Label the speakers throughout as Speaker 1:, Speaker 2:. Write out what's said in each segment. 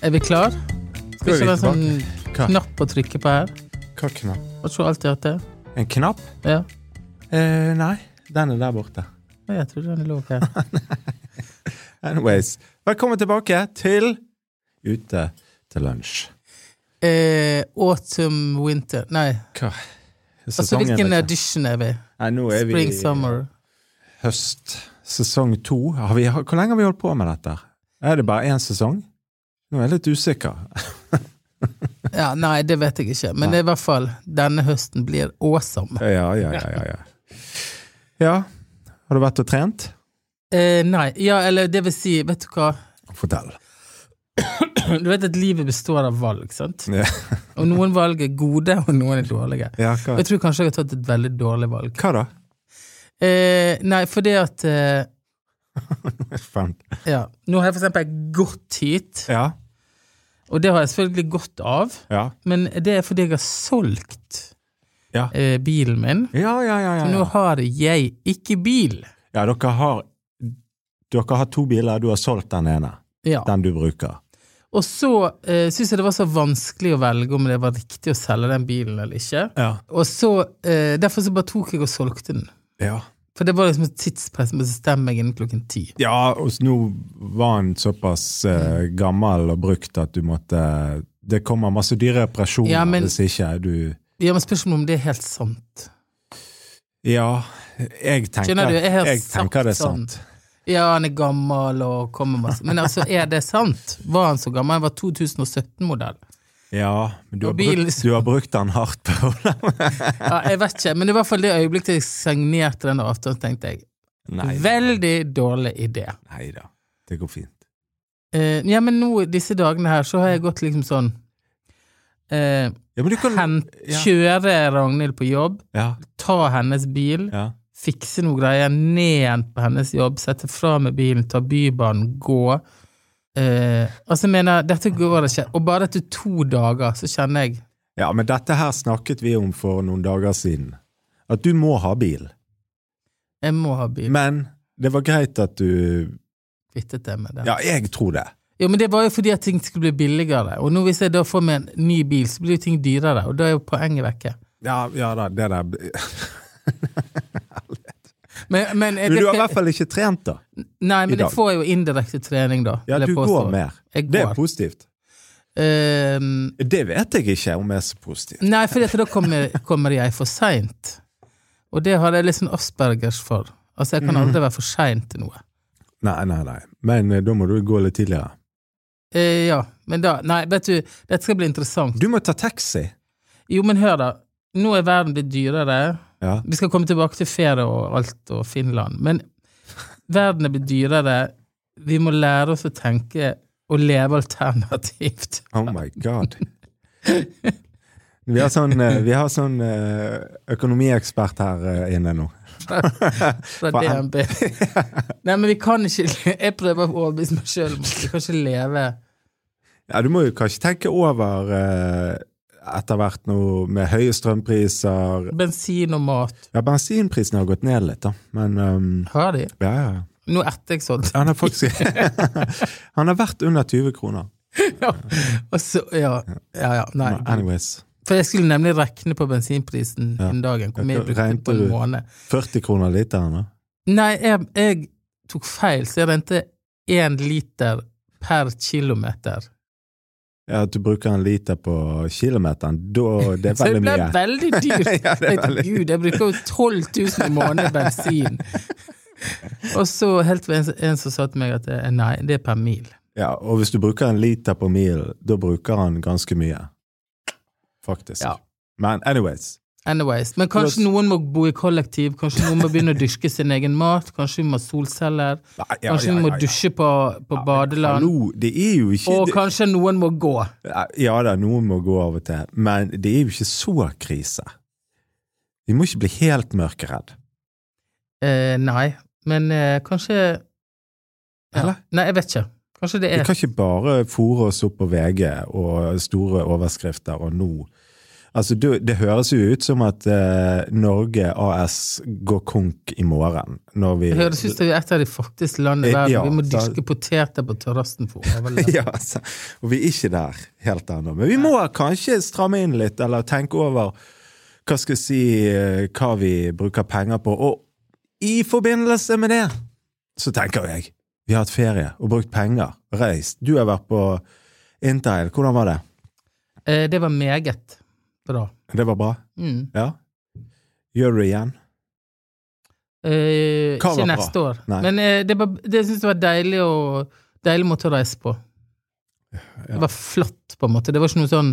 Speaker 1: Er vi klar?
Speaker 2: Skal vi
Speaker 1: Skal det er sånn
Speaker 2: tilbake? Hva?
Speaker 1: knapp å trykke på her?
Speaker 2: Hva knapp?
Speaker 1: Har ikke du alltid hatt det?
Speaker 2: En knapp?
Speaker 1: Ja.
Speaker 2: Eh, nei, den er der borte.
Speaker 1: Nei, Jeg trodde den lå her.
Speaker 2: Anyways, velkommen tilbake til Ute til lunsj.
Speaker 1: Eh, autumn, winter Nei,
Speaker 2: Hva?
Speaker 1: altså hvilken
Speaker 2: liksom.
Speaker 1: edition er vi?
Speaker 2: Nei, nå er vi
Speaker 1: Spring, summer.
Speaker 2: høst. Sesong to. Har vi, har, hvor lenge har vi holdt på med dette? Er det bare én sesong? Nå er jeg litt usikker.
Speaker 1: Ja, nei, det vet jeg ikke. Men det er i hvert fall denne høsten blir awesome.
Speaker 2: Ja, ja, ja. Ja, ja. ja har du vært og trent?
Speaker 1: Eh, nei, ja, eller det vil si, vet du hva?
Speaker 2: Fortell.
Speaker 1: Du vet at livet består av valg, sant?
Speaker 2: Ja,
Speaker 1: Og noen valg er gode, og noen er dårlige.
Speaker 2: ja hva,
Speaker 1: Jeg tror kanskje jeg har tatt et veldig dårlig valg.
Speaker 2: hva da?
Speaker 1: Eh, nei, fordi at eh,
Speaker 2: Faen.
Speaker 1: Ja. Nå har jeg for eksempel gått hit,
Speaker 2: Ja,
Speaker 1: og det har jeg selvfølgelig gått av.
Speaker 2: ja.
Speaker 1: Men det er fordi jeg har solgt
Speaker 2: Ja.
Speaker 1: eh, bilen min.
Speaker 2: Ja, ja, ja. ja,
Speaker 1: Så nå
Speaker 2: ja.
Speaker 1: har jeg ikke bil.
Speaker 2: Ja, dere har Dere har to biler, du har solgt den ene.
Speaker 1: Ja.
Speaker 2: Den du bruker.
Speaker 1: Og så eh, syns jeg det var så vanskelig å velge om det var riktig å selge den bilen eller ikke.
Speaker 2: Ja.
Speaker 1: Og så, eh, Derfor så bare tok jeg og solgte den.
Speaker 2: Ja,
Speaker 1: For det var liksom et tidspress med å bestemme meg innen klokken ti.
Speaker 2: og s- nå var den såpass eh, gammel og brukt at du måtte Det kommer masse dyre reparasjoner
Speaker 1: Ja, men-
Speaker 2: hvis ikke du
Speaker 1: Ja, men Spørsmålet om det er helt sant.
Speaker 2: Ja, jeg tenker,
Speaker 1: Skjønner du, jeg har
Speaker 2: jeg
Speaker 1: sagt
Speaker 2: tenker det er
Speaker 1: sånn.
Speaker 2: sant.
Speaker 1: Ja, han er gammel og kommer masse Men altså, er det sant? Var han så gammel? Han var 2017-modell.
Speaker 2: Ja, men du har,
Speaker 1: Og bilen-
Speaker 2: brukt, du har brukt den hardt på
Speaker 1: Ja, jeg vet ikke, men i hvert fall det øyeblikket jeg signerte denne avtalen, tenkte jeg
Speaker 2: Nei,
Speaker 1: veldig dårlig idé.
Speaker 2: nei da. Det går fint.
Speaker 1: Eh, ja, men nå, disse dagene her, så har jeg gått liksom sånn eh,
Speaker 2: Ja, men du kan
Speaker 1: hent,
Speaker 2: ja.
Speaker 1: Kjøre Ragnhild på jobb,
Speaker 2: Ja,
Speaker 1: ta hennes bil,
Speaker 2: ja.
Speaker 1: fikse noe greier, ned igjen på hennes jobb, sette fra med bilen, ta bybanen, gå. Eh, altså, jeg mener, dette går ikke. Og bare etter to dager så kjenner jeg
Speaker 2: ja, men dette her snakket vi om for noen dager siden. At du må ha bil.
Speaker 1: jeg må ha bil.
Speaker 2: Men det var greit at du
Speaker 1: Kvittet det med det.
Speaker 2: Ja, jeg tror det.
Speaker 1: Jo, men det var jo fordi at ting skulle bli billigere. Og nå hvis jeg da får meg en ny bil, så blir jo ting dyrere, og da er jo poenget vekke.
Speaker 2: Ja, ja da, det der
Speaker 1: Men, men,
Speaker 2: Men du har i hvert fall ikke trent, da.
Speaker 1: Nei,
Speaker 2: i
Speaker 1: men jeg
Speaker 2: dag.
Speaker 1: får jo indirekte trening, da.
Speaker 2: Ja,
Speaker 1: vil jeg
Speaker 2: du
Speaker 1: påstå.
Speaker 2: går mer.
Speaker 1: Jeg
Speaker 2: Det er
Speaker 1: går.
Speaker 2: positivt.
Speaker 1: Ehm,
Speaker 2: Det vet jeg ikke om er så positivt.
Speaker 1: nei, fordi at da kommer, kommer jeg for seint. Og det har jeg litt sånn aspergers for. Altså, jeg kan aldri være for sein til noe.
Speaker 2: Nei, nei, nei. Men eh, da må du gå litt tidligere.
Speaker 1: Eh, ja, men da Nei, vet du, dette skal bli interessant.
Speaker 2: Du må ta taxi.
Speaker 1: Jo, men hør, da. Nå er verden blitt dyrere.
Speaker 2: Ja.
Speaker 1: Vi skal komme tilbake til ferie og alt og Finland, men verden er blitt dyrere. Vi må lære oss å tenke og leve alternativt.
Speaker 2: Oh my god. Vi har sånn, eh, vi har sånn eh, økonomiekspert her eh, inne nå.
Speaker 1: fra
Speaker 2: Faen.
Speaker 1: DNB. Nei, men vi kan ikke le- Jeg prøver å overbevise meg sjøl om at vi kan ikke leve
Speaker 2: Ja, du må jo kanskje tenke over eh, etter hvert nå med høye strømpriser
Speaker 1: bensin og mat.
Speaker 2: Ja, bensinprisene har gått ned litt, da, men ehm,
Speaker 1: Har de?
Speaker 2: Ja, ja, ja.
Speaker 1: Nå etter jeg sånn.
Speaker 2: Han har faktisk Han har vært under 20 kroner.
Speaker 1: Og så, ja, ja, ja, nei.
Speaker 2: Men Anyways.
Speaker 1: For jeg skulle nemlig regne på bensinprisen den dagen. Hvor mye
Speaker 2: Ja,
Speaker 1: jeg brukte
Speaker 2: regnet
Speaker 1: på en
Speaker 2: du?
Speaker 1: måned.
Speaker 2: 40 kroner literen, da?
Speaker 1: Nei, jeg, jeg tok feil, så jeg regnet én liter per kilometer.
Speaker 2: Ja, at du bruker en liter på kilometeren, da Det er
Speaker 1: Så det
Speaker 2: veldig
Speaker 1: ble
Speaker 2: mye.
Speaker 1: veldig dyrt.
Speaker 2: Ja, det er
Speaker 1: Jeg tenkte,
Speaker 2: veldig-
Speaker 1: Gud, jeg bruker jo 12 000 i måneden bensin. Og så helt ved en, en som sa til meg at eh, nei, det er per mil.
Speaker 2: Ja, og hvis du bruker en liter på mil, da bruker han ganske mye. Faktisk.
Speaker 1: Ja.
Speaker 2: Men anyways.
Speaker 1: Anyways, Men kanskje
Speaker 2: Plus-
Speaker 1: noen må bo i kollektiv, kanskje noen må begynne å dyrke sin egen mat, kanskje vi må ha solceller,
Speaker 2: Nei, ja,
Speaker 1: kanskje
Speaker 2: ja,
Speaker 1: vi må
Speaker 2: ja, ja.
Speaker 1: dusje på, på badeland,
Speaker 2: Hallo, det er jo ikke
Speaker 1: og
Speaker 2: det-
Speaker 1: kanskje noen må gå.
Speaker 2: Ja da, noen må gå av og til, men det er jo ikke så krise. Vi må ikke bli helt mørkeredd.
Speaker 1: Eh, nei, men eh, kanskje ja.
Speaker 2: Eller?
Speaker 1: Nei, jeg vet ikke. Kanskje det
Speaker 2: Vi
Speaker 1: er
Speaker 2: kan ikke bare fòre oss opp på VG og store overskrifter og nå Altså, du, det høres jo ut som at eh, Norge AS går konk i morgen. Når vi
Speaker 1: Det høres ut som vi er et av de fattigste landene i
Speaker 2: Eh,
Speaker 1: verden.
Speaker 2: ja,
Speaker 1: vi må
Speaker 2: så-
Speaker 1: dyrke poteter på terrassen for å overleve.
Speaker 2: ja, altså, og vi er ikke der helt ennå. Men vi må kanskje stramme inn litt, eller tenke over hva skal jeg si, eh, hva vi bruker penger på. Og i forbindelse med det, så tenker jeg Vi har hatt ferie og brukt penger. Reist. Du har vært på Interrail. Hvordan var det?
Speaker 1: Eh, Det var meget bra.
Speaker 2: Det var bra?
Speaker 1: Mm.
Speaker 2: Ja? Gjør du det igjen?
Speaker 1: Eh,
Speaker 2: Hva var
Speaker 1: ikke
Speaker 2: bra?
Speaker 1: neste år.
Speaker 2: Nei.
Speaker 1: Men eh, det, var, det synes jeg var deilig, å- deilig måte å reise på.
Speaker 2: Ja.
Speaker 1: Det var flott, på en måte. Det var ikke noe sånn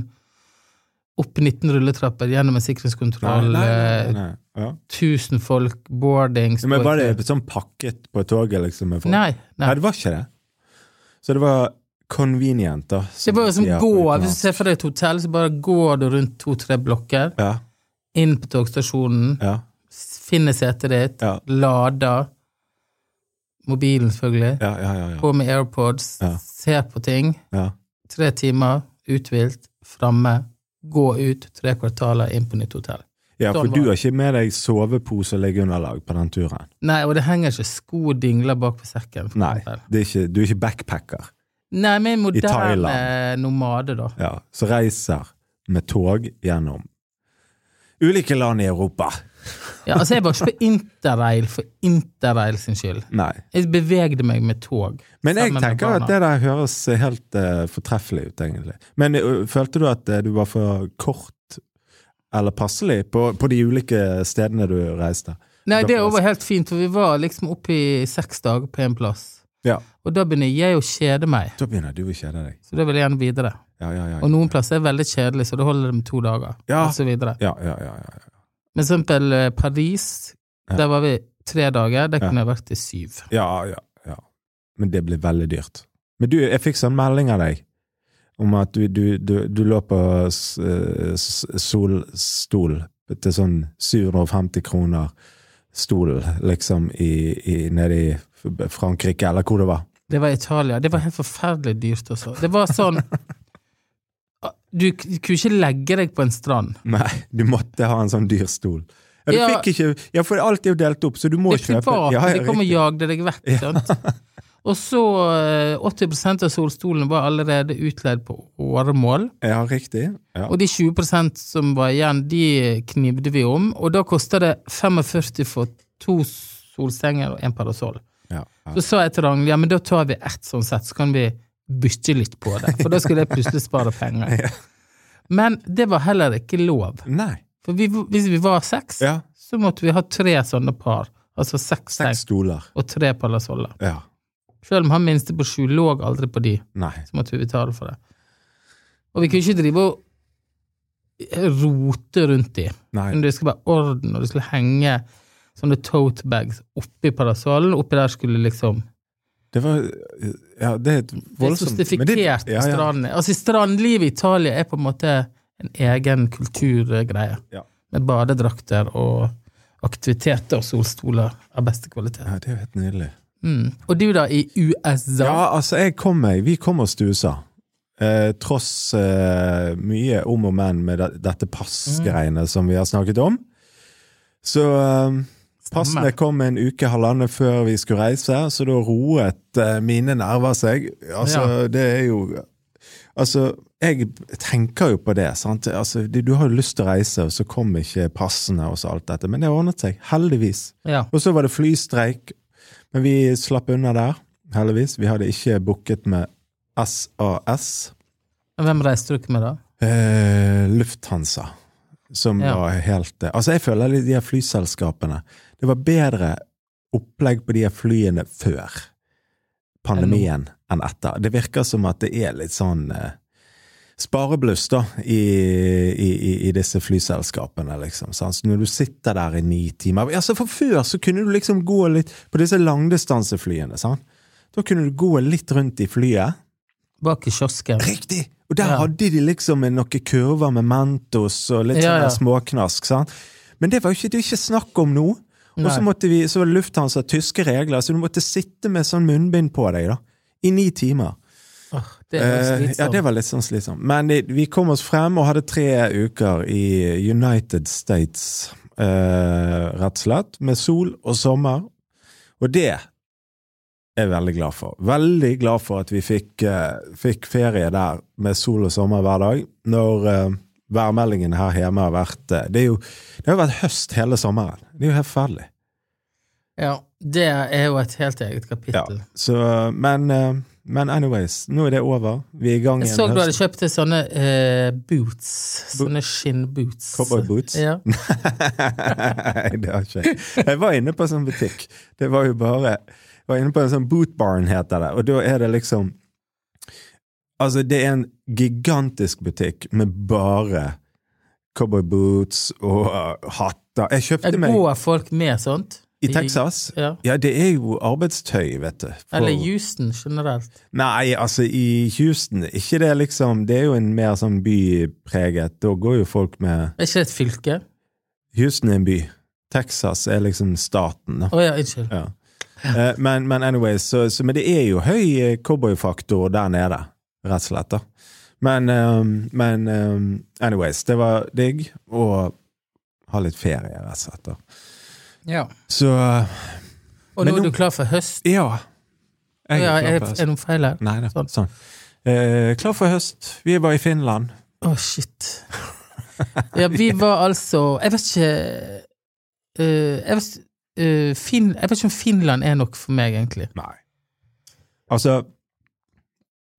Speaker 1: opp 19 rulletrapper, gjennom en sikkerhetskontroll, eh,
Speaker 2: nei. Ja.
Speaker 1: 1000 folk, boarding
Speaker 2: Men var
Speaker 1: stå-
Speaker 2: det sånn pakket på toget, liksom? Med folk?
Speaker 1: Nei. nei.
Speaker 2: Nei, det var ikke det. Så det var convenient, da.
Speaker 1: Det var jo som
Speaker 2: sier på
Speaker 1: gå.
Speaker 2: utenlands.
Speaker 1: Hvis du ser for deg et hotell, så bare går du rundt to-tre blokker,
Speaker 2: Ja,
Speaker 1: inn på togstasjonen,
Speaker 2: ja,
Speaker 1: finner setet ditt,
Speaker 2: ja,
Speaker 1: lader mobilen, selvfølgelig,
Speaker 2: ja, ja, ja, ja,
Speaker 1: på med AirPods,
Speaker 2: Ja.
Speaker 1: ser på ting,
Speaker 2: ja.
Speaker 1: tre timer, uthvilt, framme, gå ut, tre kvartaler, inn på nytt hotell.
Speaker 2: Ja, for
Speaker 1: Sånn var
Speaker 2: du
Speaker 1: det.
Speaker 2: har ikke med deg sovepose og liggeunderlag på den turen.
Speaker 1: Nei, og det henger ikke sko og dingler bak på sekken. for
Speaker 2: Nei,
Speaker 1: eksempel.
Speaker 2: det er ikke, du er ikke backpacker
Speaker 1: Nei, men en moderne
Speaker 2: Thailand.
Speaker 1: nomade, da.
Speaker 2: ja, som reiser med tog gjennom ulike land i Europa.
Speaker 1: Ja, altså, jeg var ikke på interrail for interrail sin skyld.
Speaker 2: Nei.
Speaker 1: Jeg bevegde meg med tog.
Speaker 2: Men jeg
Speaker 1: sammen med
Speaker 2: tenker at
Speaker 1: barna.
Speaker 2: det der høres helt eh, fortreffelig ut, egentlig. Men eh, følte du at eh, du var for kort eller passelig på, på de ulike stedene du reiste?
Speaker 1: Nei,
Speaker 2: Da
Speaker 1: det
Speaker 2: var-
Speaker 1: var helt fint, for vi var liksom oppe i seks dager på en plass.
Speaker 2: Ja.
Speaker 1: Og da begynner jeg å kjede meg,
Speaker 2: Da begynner du å kjede deg.
Speaker 1: så da vil jeg gjerne videre.
Speaker 2: Ja, ja, ja.
Speaker 1: Og noen plasser er veldig kjedelig, så da holder det med to dager,
Speaker 2: Ja.
Speaker 1: og så videre.
Speaker 2: ja, ja, ja, ja.
Speaker 1: Men for eksempel eh, Paris,
Speaker 2: Ja.
Speaker 1: der var vi tre dager, der
Speaker 2: Ja.
Speaker 1: kunne jeg vært i syv.
Speaker 2: Ja, ja, ja. Men det blir veldig dyrt. Men du, jeg fikk sånn melding av deg om at du, du, du, du lå på s- eh, s- solstol til sånn 750 kroner stol, liksom, i, i, nede i F- Frankrike, eller hvor det var.
Speaker 1: Det var Italia. Det var helt forferdelig dyrt også. Det var sånn Du k- kunne ikke legge deg på en strand.
Speaker 2: Nei, du måtte ha en sånn dyr stol. Ja, du
Speaker 1: Ja.
Speaker 2: fikk ikke, ja, for alt er jo delt opp, så du må
Speaker 1: Det er
Speaker 2: kjøpe.
Speaker 1: privat,
Speaker 2: ja, ja,
Speaker 1: de kom og
Speaker 2: riktig.
Speaker 1: jagde deg vekk. sant? Og så eh, 80 av solstolen var allerede utleid på åremål.
Speaker 2: ja, riktig. Ja.
Speaker 1: Og de 20 som var igjen, de knivde vi om. Og da kosta det 45 for to solsenger og en parasoll.
Speaker 2: Ja, ja.
Speaker 1: Så sa jeg til Ragnhild ja, men da tar vi ett sånn sett, så kan vi bytte litt på det. For da skulle jeg plutselig spare penger. Men det var heller ikke lov.
Speaker 2: Nei.
Speaker 1: For vi, hvis vi var seks,
Speaker 2: Ja,
Speaker 1: så måtte vi ha tre sånne par. Altså seks
Speaker 2: seks
Speaker 1: seng
Speaker 2: stoler.
Speaker 1: og tre parasoller.
Speaker 2: Ja.
Speaker 1: Selv om han minste på sju lå aldri på de,
Speaker 2: Nei.
Speaker 1: så måtte vi betale for det. Og vi kunne ikke drive og rote rundt de.
Speaker 2: Nei.
Speaker 1: Men det skulle være orden, og det skulle henge sånne tote bags oppi parasollen. Oppi der skulle liksom
Speaker 2: Det var Ja, det er et
Speaker 1: Det er
Speaker 2: voldsomt men
Speaker 1: sofistikert
Speaker 2: det-
Speaker 1: på
Speaker 2: ja, ja.
Speaker 1: strandene. Altså, strandlivet i Italia er på en måte en egen kulturgreie.
Speaker 2: Ja.
Speaker 1: Med badedrakter og aktiviteter og solstoler av beste kvalitet.
Speaker 2: Ja, det er jo helt nydelig.
Speaker 1: Mm. Og du, da, i USA?
Speaker 2: Ja, altså, jeg kom meg Vi kom oss til USA. Eh, tross eh, mye om og men med de, dette passgreiene som vi har snakket om. Så eh, passene kom en uke, halvannen før vi skulle reise, så da roet eh, mine nerver seg. Altså, det er jo Altså, jeg tenker jo på det. sant? Altså, du, du har jo lyst til å reise, og så kom ikke passene og så alt dette. Men det ordnet seg, heldigvis.
Speaker 1: Ja.
Speaker 2: Og så var det flystreik, men vi slapp unna der, heldigvis. Vi hadde ikke booket med SAS,
Speaker 1: Hvem reiste du ikke med, da?
Speaker 2: eh, Lufthansa, som
Speaker 1: Ja.
Speaker 2: var helt eh, Altså, jeg føler litt de her flyselskapene Det var bedre opplegg på de her flyene før pandemien enn etter. Det virker som at det er litt sånn eh, Sparebluss, da, i, i, i- i disse flyselskapene, liksom. Sant? Så når du sitter der i ni timer altså For før så kunne du liksom gå litt På disse langdistanseflyene, sant? Da kunne du gå litt rundt i flyet,
Speaker 1: Bak i kiosken.
Speaker 2: Riktig! Og der
Speaker 1: Ja.
Speaker 2: hadde de liksom en- noen kurver med Mentos og litt
Speaker 1: Ja, ja.
Speaker 2: sånne småknask. sant? Men det var jo ikke, det er ikke snakk om nå. Og så
Speaker 1: Nei.
Speaker 2: måtte vi, så var det Lufthansa tyske regler, så du måtte sitte med sånn munnbind på deg da, i ni timer.
Speaker 1: Åh, Det høres
Speaker 2: Eh,
Speaker 1: litt
Speaker 2: ja,
Speaker 1: sånn
Speaker 2: det var litt sånn slitsomt. Men det, vi kom oss frem og hadde tre uker i United States, eh, rett og slett, med sol og sommer. Og det er jeg veldig glad for. Veldig glad for at vi fikk, eh, fikk ferie der med sol og sommer hver dag, når eh, værmeldingen her hjemme har vært eh, det, er jo, det har jo vært høst hele sommeren. Det er jo helt forferdelig.
Speaker 1: Ja, det er jo et helt eget kapittel.
Speaker 2: Så, men, eh, men anyways, nå er det over. Vi er i gang
Speaker 1: Jeg
Speaker 2: igjen.
Speaker 1: så du hadde
Speaker 2: høsten.
Speaker 1: kjøpt deg sånne eh, boots. Sånne skinnboots.
Speaker 2: Cowboy boots?
Speaker 1: Ja.
Speaker 2: Nei, det har ikke jeg. Jeg var inne på en sånn butikk. Det var jo bare Jeg var inne på en sånn boot barn, heter det. Og da er det liksom Altså, det er en gigantisk butikk med bare cowboy boots og uh, hatter. Jeg kjøpte
Speaker 1: Jeg
Speaker 2: meg
Speaker 1: går folk med sånt?
Speaker 2: i Texas.
Speaker 1: Ja.
Speaker 2: Ja, det er jo arbeidstøy, vet du. For-
Speaker 1: Eller Houston generelt.
Speaker 2: Nei, altså i Houston ikke det liksom, Det er jo en mer sånn bypreget. Da går jo folk med
Speaker 1: Er ikke det et fylke?
Speaker 2: Houston er en by. Texas er liksom staten, da.
Speaker 1: Å ja, unnskyld.
Speaker 2: Ja. Eh, Men, men anyways, så, så, men det er jo høy eh, cowboyfaktor der nede, rett og slett. da. Men, ehm, men ehm, anyways, det var digg å ha litt ferie, rett og slett. da.
Speaker 1: Ja.
Speaker 2: Så
Speaker 1: Og
Speaker 2: Men
Speaker 1: nå er
Speaker 2: nå-
Speaker 1: du klar for høst?
Speaker 2: ja.
Speaker 1: Å
Speaker 2: Jeg
Speaker 1: ja,
Speaker 2: er
Speaker 1: er,
Speaker 2: klar for
Speaker 1: er
Speaker 2: høst.
Speaker 1: det noe feil her?
Speaker 2: Nei da.
Speaker 1: sånn.
Speaker 2: Sånn. Eh, klar for høst. Vi var i Finland.
Speaker 1: Å, shit. Ja, vi var altså Jeg vet ikke eh, jeg, vet, eh, Finn, jeg vet ikke om Finland er nok for meg, egentlig.
Speaker 2: Nei. Altså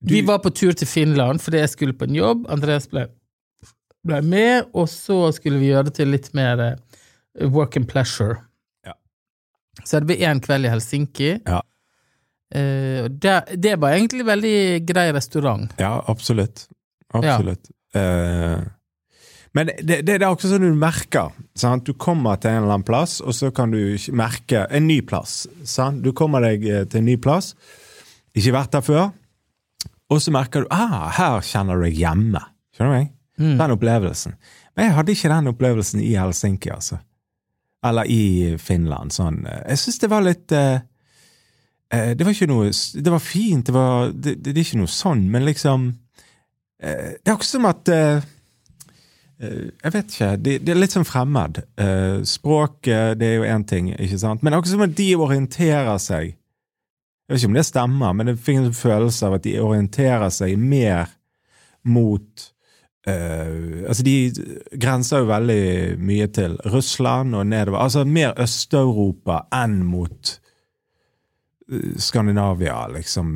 Speaker 2: du-
Speaker 1: Vi var på tur til Finland fordi jeg skulle på en jobb. Andreas ble, ble med, og så skulle vi gjøre det til litt mer eh, work and pleasure.
Speaker 2: Ja.
Speaker 1: Så det ble én kveld i Helsinki.
Speaker 2: Ja.
Speaker 1: Eh, og der, det var egentlig veldig grei restaurant.
Speaker 2: Ja, absolutt. Absolutt. Eh, men det, det, det er også sånn du merker. Sant? Du kommer til en eller annen plass, og så kan du ikke merke en ny plass. Sant? Du kommer deg eh, til en ny plass, ikke vært der før, og så merker du ah, her kjenner du deg hjemme. Skjønner du meg?
Speaker 1: Mm.
Speaker 2: Den opplevelsen. Men jeg hadde ikke den opplevelsen i Helsinki, altså. Eller i Finland. Sånn. eh, Jeg syns det var litt eh, eh, Det var ikke noe s- Det var fint, det, var, det, det, det er ikke noe sånn, men liksom eh, Det er også som at eh, eh, Jeg vet ikke. Det, det er litt sånn fremmed. Eh, språk eh, det er jo én ting, ikke sant? Men det er også som at de orienterer seg Jeg vet ikke om det stemmer, men jeg fikk en sånn følelse av at de orienterer seg mer mot eh, altså De grenser jo veldig mye til Russland og nedover. Altså mer Øst-Europa enn mot eh, Skandinavia, liksom.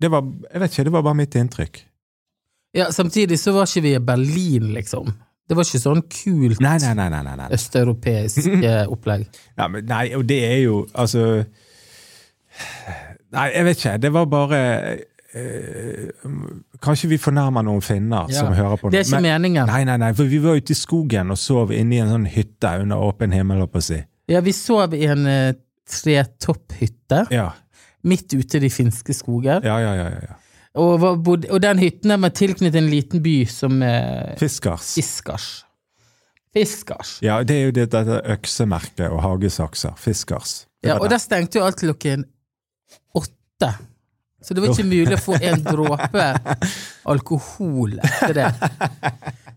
Speaker 2: Det var, jeg vet ikke, det var bare mitt inntrykk.
Speaker 1: Ja, samtidig så var ikke vi i Berlin, liksom. Det var ikke sånn kult
Speaker 2: Nei, nei, nei. nei, nei, nei.
Speaker 1: østeuropeisk eh, opplegg.
Speaker 2: Nei, men, nei, og det er jo Altså Nei, jeg vet ikke. Det var bare eh, Kanskje vi fornærmer noen finner
Speaker 1: Ja,
Speaker 2: som hører på
Speaker 1: Det er ikke
Speaker 2: Men-
Speaker 1: meningen.
Speaker 2: Nei, nei, nei, for vi var ute i skogen og sov inne i en sånn hytte under åpen himmel, holdt på å si.
Speaker 1: Ja, vi sov i en eh, tretopphytte
Speaker 2: Ja,
Speaker 1: midt ute i de finske skoger.
Speaker 2: ja, ja. ja, ja, ja.
Speaker 1: Og, var, bodde, og den hytten der var tilknyttet en liten by som eh,
Speaker 2: Fiskars.
Speaker 1: Fiskars. Fiskars.
Speaker 2: Ja, det er jo det, dette øksemerket og hagesakser. Fiskars. Det
Speaker 1: Ja,
Speaker 2: var
Speaker 1: og
Speaker 2: det.
Speaker 1: der stengte jo alt klokken åtte. Så det var ikke mulig å få en dråpe alkohol etter det.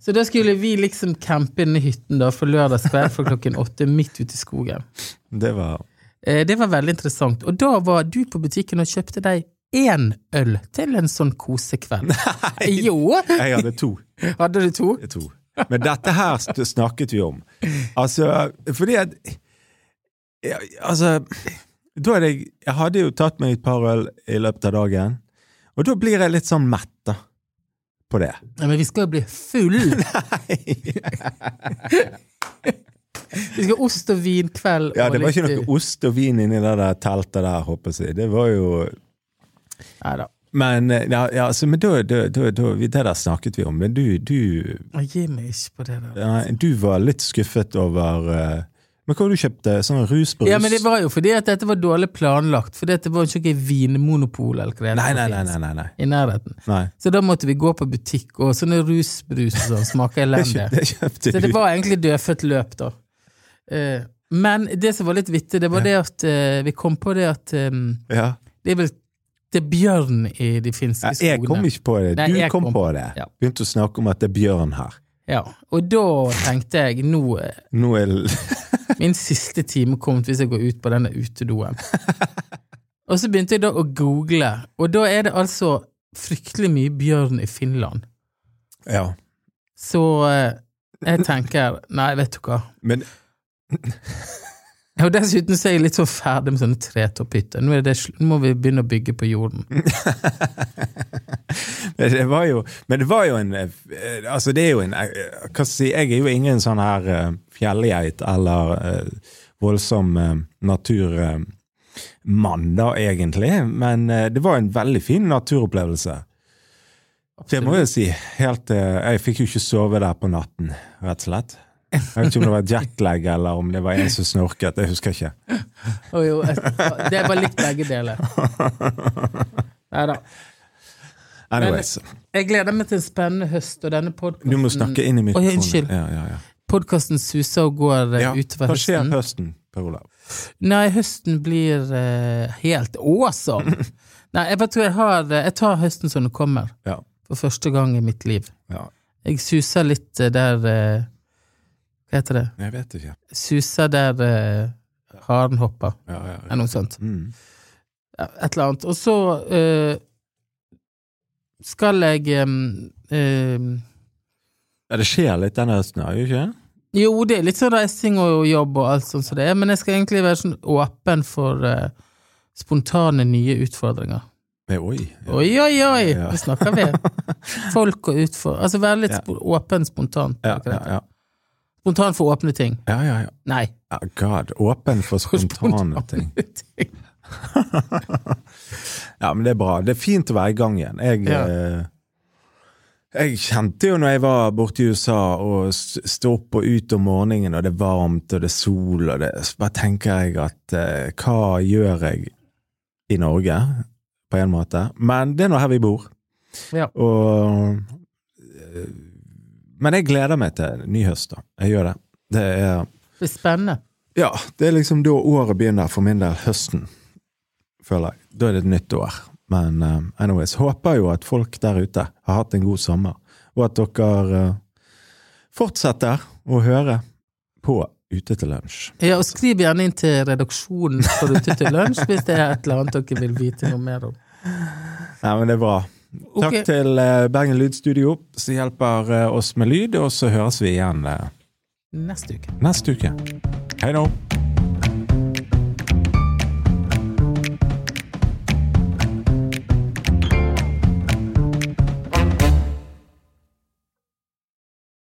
Speaker 1: Så da skulle vi liksom campe inne i hytten da for lørdagskveld for klokken åtte midt ute i skogen.
Speaker 2: det var
Speaker 1: Eh, det var veldig interessant. Og da var du på butikken og kjøpte deg én øl til en sånn kosekveld. Jo!
Speaker 2: Jeg hadde to.
Speaker 1: Hadde du to?
Speaker 2: Jeg tror. Men dette her st- snakket vi om. Altså, fordi at ja, Altså, da hadde jeg Jeg hadde jo tatt meg et par øl i løpet av dagen, og da blir jeg litt sånn mett, da. På det.
Speaker 1: Ja, men vi skal jo bli full! Vi skal ha ost og vin kveld.
Speaker 2: Ja,
Speaker 1: og
Speaker 2: det var ikke
Speaker 1: litt- eh,
Speaker 2: noe ost og vin inni det der teltet der, håper jeg. å si. Det var jo
Speaker 1: Neida.
Speaker 2: Men eh, ja, ja, altså, men da, da, da, da Det der snakket vi om, men du, du,
Speaker 1: Jeg gir meg ikke på det der.
Speaker 2: nei, du var litt skuffet over eh, Men hva var det du kjøpte? Sånn rusbrus?
Speaker 1: Ja, men det var jo fordi at dette var dårlig planlagt. Fordi at det var jo ikke noe vinmonopol eller hva det
Speaker 2: Nei,
Speaker 1: heter
Speaker 2: nei,
Speaker 1: som
Speaker 2: nei.
Speaker 1: finnes
Speaker 2: nei, nei, nei.
Speaker 1: i nærheten.
Speaker 2: nei.
Speaker 1: Så da måtte vi gå på butikk, og sånne rusbrus og sånn smaker
Speaker 2: Det
Speaker 1: elendig.
Speaker 2: kjøpte, det kjøpte
Speaker 1: Så det
Speaker 2: du.
Speaker 1: var egentlig dødfødt løp, da. Eh, Men det som var litt vittig, det var det at eh, vi kom på det at eh,
Speaker 2: Ja.
Speaker 1: det er vel det er bjørn i de finske skogene.
Speaker 2: Jeg kom ikke på det,
Speaker 1: Nei,
Speaker 2: du
Speaker 1: jeg
Speaker 2: kom
Speaker 1: kom-
Speaker 2: på det.
Speaker 1: Ja.
Speaker 2: Begynte å snakke om at det er bjørn her.
Speaker 1: Ja, og da tenkte jeg nå er
Speaker 2: Nå er
Speaker 1: min siste time kommet hvis jeg går ut på denne utedoen. Og så begynte jeg da å google, og da er det altså fryktelig mye bjørn i Finland.
Speaker 2: Ja.
Speaker 1: Så eh, jeg tenker Nei, vet du hva.
Speaker 2: Men
Speaker 1: Og dessuten så er jeg litt sånn ferdig med sånne tretopphytter. Nå, er det sl- nå må vi begynne å bygge på jorden.
Speaker 2: Men det var jo, men det var jo en eh, Altså, det er jo en eh, Hva skal jeg si Jeg er jo ingen sånn her eh, fjellgeit eller eh, voldsom eh, naturmann, da, egentlig. Men eh, det var en veldig fin naturopplevelse. Det må jeg si. Helt, eh, jeg fikk jo ikke sove der på natten, rett og slett. Jeg vet ikke om det var jetlag eller om det var en som snorket. Jeg husker ikke.
Speaker 1: Og jo, jeg, det er bare likt begge deler. Nei da.
Speaker 2: Anyways,
Speaker 1: Jeg gleder meg til en spennende høst, og denne podkasten
Speaker 2: du må snakke inn i
Speaker 1: Oi,
Speaker 2: mikrofonen.
Speaker 1: unnskyld.
Speaker 2: Ja, ja, ja.
Speaker 1: Podkasten suser og går eh,
Speaker 2: Ja,
Speaker 1: utover
Speaker 2: Hva skjer
Speaker 1: høsten.
Speaker 2: høsten, Per Olav?
Speaker 1: Nei, høsten blir eh, helt awesome. Nei, jeg bare tror jeg har eh, Jeg tar høsten som den kommer,
Speaker 2: Ja,
Speaker 1: for første gang i mitt liv.
Speaker 2: ja.
Speaker 1: Jeg suser litt eh, der eh, Hva heter det?
Speaker 2: Jeg vet ikke.
Speaker 1: Suser der eh, haren hopper,
Speaker 2: Ja, ja, ja.
Speaker 1: eller noe sånt.
Speaker 2: Mm.
Speaker 1: Ja, et eller annet. Og så eh, skal jeg eh, eh,
Speaker 2: ja, det skjer litt denne høsten, er det ikke?
Speaker 1: Jo, det er litt sånn reising og jobb og alt sånt som det er, men jeg skal egentlig være sånn åpen for eh, spontane nye utfordringer.
Speaker 2: Men, oi. ja.
Speaker 1: Oi, oi, oi!
Speaker 2: Ja.
Speaker 1: Nå snakker vi. Folk og utfor... Altså være litt
Speaker 2: Ja.
Speaker 1: spo- åpen spontan.
Speaker 2: Ja,
Speaker 1: Ikke
Speaker 2: ja,
Speaker 1: det?
Speaker 2: ja.
Speaker 1: Spontan for åpne ting.
Speaker 2: ja, ja, ja.
Speaker 1: Nei.
Speaker 2: Ja, God, åpen for
Speaker 1: For
Speaker 2: spontane ting.
Speaker 1: ting.
Speaker 2: Ja, men det er bra. Det er fint å være i gang igjen. Jeg,
Speaker 1: Ja.
Speaker 2: eh, jeg kjente jo når jeg var borte i USA og s- stå opp og ut om morgenen, og det er varmt og det er sol, og det, så bare tenker jeg at eh, hva gjør jeg i Norge, på en måte? Men det er nå her vi bor.
Speaker 1: Ja.
Speaker 2: Og eh, Men jeg gleder meg til ny høst, da. Jeg gjør det. Det er
Speaker 1: Det blir spennende.
Speaker 2: Ja, det er liksom da året begynner for min del, høsten, føler jeg. Da er det et nytt år. Men eh, anyways, håper jo at folk der ute har hatt en god sommer, og at dere eh, fortsetter å høre på Ute til lunsj.
Speaker 1: Ja, og skriv gjerne inn til redaksjonen for Ute til lunsj hvis det er et eller annet dere vil vite noe mer om.
Speaker 2: Nei, men det er bra.
Speaker 1: Ok.
Speaker 2: Takk til eh, Bergen Lydstudio, som hjelper eh, oss med lyd, og så høres vi igjen eh,
Speaker 1: Neste uke.
Speaker 2: neste uke. Hei nå!